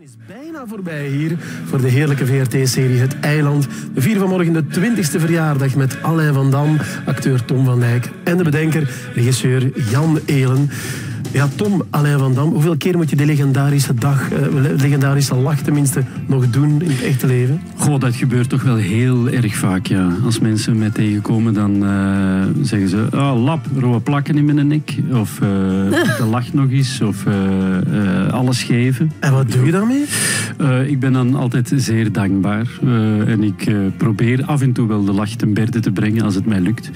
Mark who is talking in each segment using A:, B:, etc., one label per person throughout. A: is bijna voorbij hier voor de heerlijke VRT-serie Het Eiland. We vieren vanmorgen de 20e verjaardag met Alain van Dam, acteur Tom van Dijk en de bedenker, regisseur Jan Elen. Ja, Tom, Alain van Dam, hoeveel keer moet je die legendarische dag, eh, legendarische lach tenminste, nog doen in het echte leven?
B: Goh, dat gebeurt toch wel heel erg vaak, ja. Als mensen mij tegenkomen, dan eh, zeggen ze... Oh, lap, rode plakken in mijn nek. Of eh, de lach nog eens. Of eh, eh, alles geven.
A: En wat doe je daarmee?
B: Eh, ik ben dan altijd zeer dankbaar. Eh, en ik eh, probeer af en toe wel de lach ten berde te brengen als het mij lukt.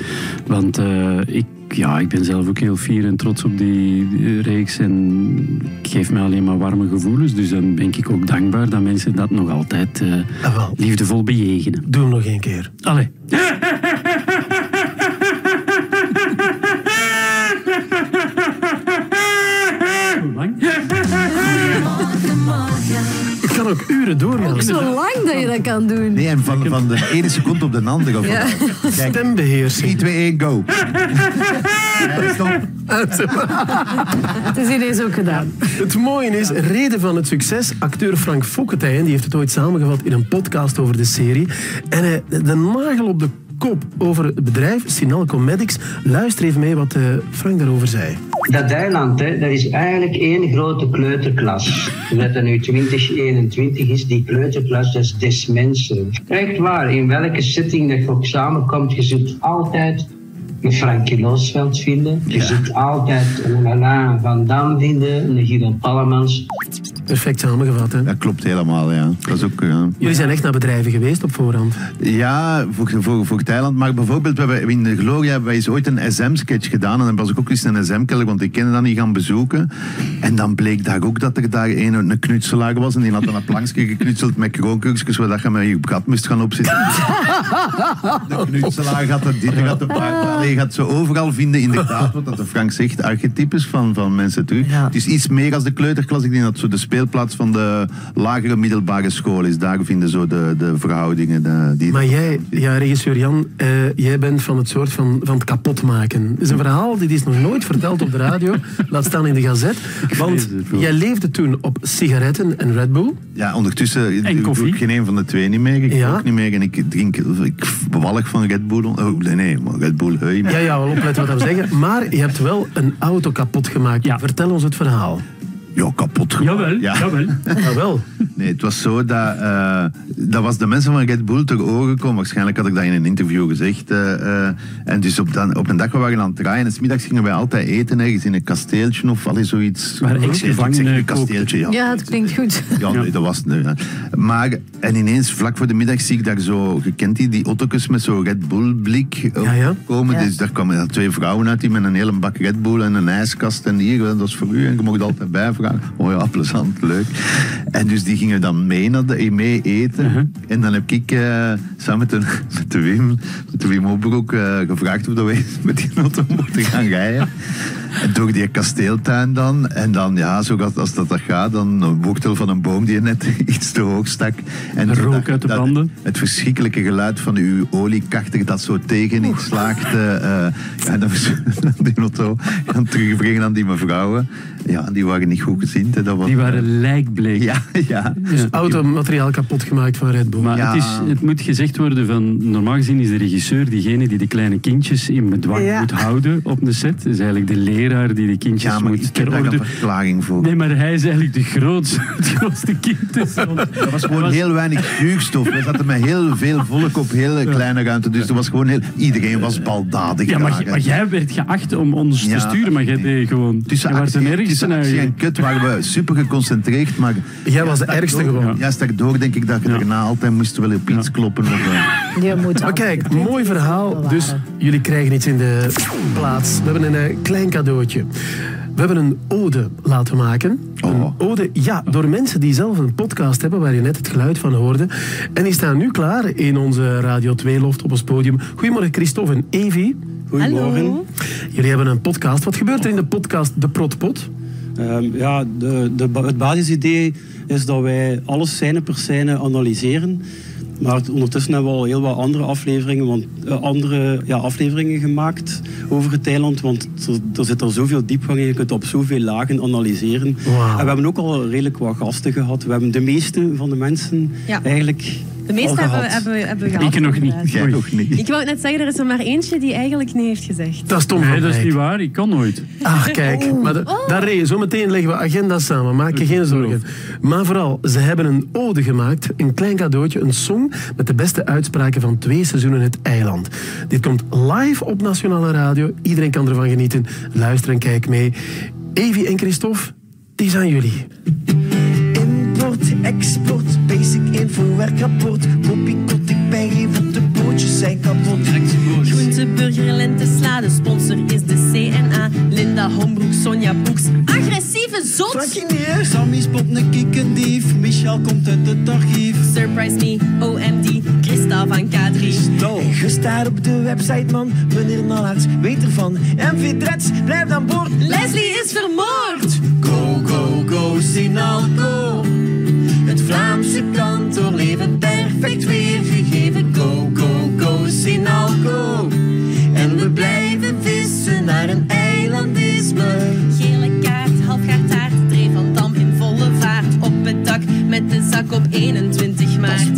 B: Want eh, ik, ja, ik ben zelf ook heel fier en trots op die eh, reeks. En het geeft mij alleen maar warme gevoelens. Dus dan ben ik ook dankbaar dat mensen dat nog altijd eh,
A: Ah, wel.
B: liefdevol bejegenen.
A: Doe hem nog één keer.
B: Allee. Hoe lang?
A: Ik kan ook uren doorgaan.
C: Zo lang dat je dat kan doen.
D: Nee, en van, van de ene seconde op de andere. Of
C: Ja.
D: Kijk, 3,
A: Stembeheersing.
D: 2, 1, go. Ja, stop.
C: Het is ineens ook gedaan.
A: Het mooie is, reden van het succes, acteur Frank Fokketijen, die heeft het ooit samengevat in een podcast over de serie. En eh, de nagel op de kop over het bedrijf, Sinalco Medics. Luister even mee wat eh, Frank daarover zei.
E: Dat eiland, hè, dat is eigenlijk één grote kleuterklas. Dat er nu 2021 is, die kleuterklas, dat is des mensen. Echt waar, in welke setting dat je ook samenkomt, je zult altijd een Frankie Loosveld vinden. Je zult altijd een Alain Van Dam vinden, een Guido Pallemans.
A: Perfect samengevat, hè?
D: Dat klopt helemaal, ja. Dat is ook... Ja.
A: Jullie zijn echt naar bedrijven geweest op voorhand.
D: Ja, voor, voor, voor Thailand. Maar bijvoorbeeld, we hebben, in de Gloria hebben wij eens ooit een SM-sketch gedaan. En dan was ik ook eens in een SM-kelder, want ik kende dat niet gaan bezoeken. En dan bleek daar ook dat er daar een, een knutselaar was. En die had dan een plankje geknutseld met kroonkurkjes, zodat je met je gat moest gaan opzitten. de knutselaar gaat er dit, gaat de paard. Je gaat ze overal vinden, inderdaad, wat dat de Frank zegt, archetypes van, van mensen terug.
A: Ja.
D: Het is iets meer als de kleuterklas. Ik denk dat zo de speelplaats van de lagere middelbare school is. Daar vinden zo de, de verhoudingen de, die
A: Maar jij, ja, regisseur Jan, eh, jij bent van het soort van, van het kapotmaken. Het is een verhaal dat is nog nooit verteld op de radio, laat staan in de gazet. Want
B: vrees het wel.
A: jij leefde toen op sigaretten en Red Bull.
D: Ja, ondertussen doe-
B: koffie.
D: doe ik geen een van de twee niet meer. Ik
A: Ja.
D: ook niet meer en ik drink ik bewallig van Red Bull. Oh, nee, nee, maar Red Bull, hey.
A: Ja, ja, wel opletten wat we zeggen. Maar je hebt wel een auto kapot gemaakt.
B: Ja.
A: Vertel ons het verhaal.
D: Ja, kapot. gemaakt.
B: Jawel,
D: Ja.
B: jawel.
A: Nou wel.
D: Nee, het was zo dat, eh, dat was de mensen van Red Bull ter oren gekomen. Waarschijnlijk had ik dat in een interview gezegd. eh, eh. en dus op, dan, op een dag we waren aan het draaien. En smiddags gingen wij altijd eten ergens in een kasteeltje of allee, zoiets.
B: Waar
D: Ik zeg- ik zeg
B: ex-gevangenen
D: een kasteeltje, ja.
C: Ja, het klinkt goed.
D: Ja, nee, dat was het. nee, nee. Maar, en ineens vlak voor de middag zie ik daar zo, je kent die, die auto's met zo'n Red Bull blik eh,
A: Ja, ja.
D: komen.
C: Ja.
D: Dus daar kwamen dan twee vrouwen uit die met een hele bak Red Bull en een ijskast. En hier, dat is voor u. En je mocht altijd bijvragen. Oh ja, plezant, leuk. En dus die gingen dan mee, naar de, mee eten.
B: Mhm.
D: En dan heb ik eh, samen met de, met de Wim, met de Wim Opbroek, eh, gevraagd of dat wij met die auto mochten gaan rijden. En door die kasteeltuin dan. En dan, ja, zo gaat, als dat, dat gaat, dan een wortel van een boom die net iets te hoog stak. En
B: Rook
D: dat-
B: uit de
D: dat-
B: branden.
D: Het verschrikkelijke geluid van uw oliekachter dat zo tegen iets slaagt. eh, eh, ja, dat was die auto gaan terugbrengen aan die mevrouwen. Ja, die waren niet goed gezind. hè, Dat was,
B: Die waren lijkbleek.
D: Ja, ja.
A: Dus automateriaal kapot gemaakt van Red Bull.
B: Maar
D: Ja.
B: het, is, het moet gezegd worden van, normaal gezien is de regisseur diegene die de kleine kindjes in bedwang moet houden op de set. is eigenlijk de leraar die de kindjes
D: Ja, maar
B: moet
D: ik heb
B: ter
D: daar
B: orde...
D: een verklaring voor.
B: Nee, maar hij is eigenlijk de grootste, het grootste kind.
D: Er was gewoon heel weinig zuurstof. We zaten met heel veel volk op hele kleine ruimte. Dus er was gewoon heel, iedereen was baldadig.
B: Ja, maar,
D: daar,
B: j-
D: hè.
B: maar jij werd geacht om ons te
D: Ja,
B: sturen, maar jij
D: nee.
B: deed gewoon...
D: Tussen
B: jij was
D: actie,
B: een
D: tussen
B: ergste
D: actie en
B: eigenlijk.
D: kut waren we super geconcentreerd, maar...
A: Jij was de
D: stak
A: ergste
D: door-
A: gewoon.
D: Ja, stak door denk ik dat je
B: Ja.
D: daarna altijd moest wel op iets kloppen. Of, eh,
C: Je moet
A: Maar kijk, mooi verhaal. Dus jullie krijgen iets in de plaats. We hebben een eh, klein cadeautje. We hebben een ode laten maken. Een
D: Oh.
A: ode, ja, door mensen die zelf een podcast hebben waar je net het geluid van hoorde. En die staan nu klaar in onze Radio 2 Loft op ons podium. Goedemorgen Christophe en Evie.
F: Hallo.
A: Jullie hebben een podcast. Wat gebeurt er in de podcast De Protpot?
F: Ehm, ja, de, de, ba- het basisidee is dat wij alles scène per scène analyseren. Maar het- ondertussen hebben we al heel wat andere afleveringen, want, eh, andere, ja, afleveringen gemaakt over het eiland. Want er, er zit er zoveel diepgang in, je kunt op zoveel lagen analyseren.
A: Wauw.
F: En we hebben ook al redelijk wat gasten gehad. We hebben de meeste van de mensen
G: Ja.
F: eigenlijk
G: De meeste
F: al
G: hebben we,
F: gehad.
G: hebben, we, hebben we gehad.
B: Ik nog niet.
G: inderdaad.
D: Jij
B: Oei.
D: nog niet.
G: Ik wou net zeggen, er is er maar eentje die eigenlijk nee heeft gezegd.
A: Dat is Tom
B: Nee,
A: van
B: dat is
A: Dijk.
B: niet waar. Ik kan nooit.
A: Ach, Ah, kijk. Maar de, daar reden. Zometeen leggen we agenda's samen. Maak je geen zorgen. Maar vooral, ze hebben een ode gemaakt. Een klein cadeautje. Een song met de beste uitspraken van twee seizoenen Het Eiland. Dit komt live op Nationale Radio. Iedereen kan ervan genieten. Luister en kijk mee. Evi en Christophe, het is aan jullie.
H: Import, export, basic info, werkrapport. Kopie kot, ik ben geen van de bootjes zijn kapot.
G: Groente, burger, lente, sla. De sponsor is de CNA. Linda Hombroek, Sonja Boeks. Agressieve zot!
H: Frankie neer. Sammy spot een kiekendief. Michel komt uit het archief.
G: Surprise me, OMD. Christa van K3.
F: Stel.
H: Gestaar op de website, man. Meneer Nalaerts weet ervan. MV Drets, blijf aan boord.
G: Leslie is vermoord!
H: Go, go, go, Sinalco. Het Vlaamse kantoor leven perfect weergegeven. Go, go, go, Sinalco. En we blijven vissen naar een eilandisme.
G: Gele kaart, halfgaar taart. Dreef van Dam in volle vaart. Op het dak met de zak op 21 maart.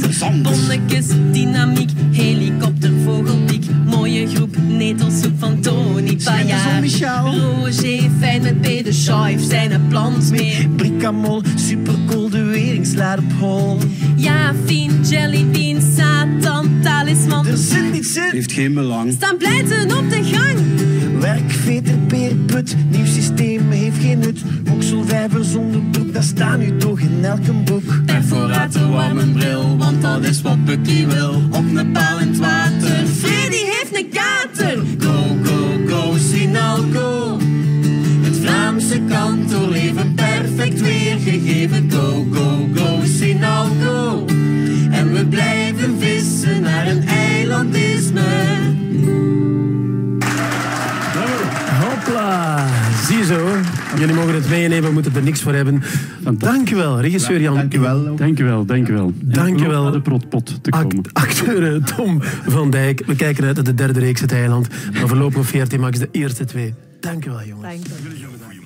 G: Bonnetjes, dynamiek, helikopter, vogelpiek. Mooie groep, netelsoep van Tony Pajaar. Roger, fijn met P. de Schuif, zijn er plans meer.
H: Bricamol, supercool, de weringslaar op hol.
G: Ja, Fien, Jellybean, Satan, Talisman.
H: Er zit niets in.
F: heeft geen belang.
G: Staan pleiten op de gang.
H: Werk, veter, peer, put, nieuw systeem heeft geen nut. Okselvijver zonder broek, dat staat nu toch in elk boek.
G: Perforator, warm een bril, want dat is wat Bucky wil. Op een paal in het water. Freddy heeft een kater.
H: Go, go, go, Sinalco. Het Vlaamse kantoor leven perfect weergegeven. Go, go, go, Sinalco. En we blijven vissen naar een eilandisme.
A: Hopla. Ziezo. Jullie mogen het meenemen. We moeten er niks voor hebben. Dankjewel, regisseur Jan.
D: Dankjewel. ook.
B: Dankjewel, dankjewel. En
A: Dankjewel.
B: beloof naar de protpot te
A: Act-
B: komen.
A: acteur eh, Tom van Dijk. We kijken uit naar de derde reeks Het Eiland. Maar voorlopig op VRT Max de eerste twee. Dankjewel, jongens.
G: Dank u.
I: Goedemorgen.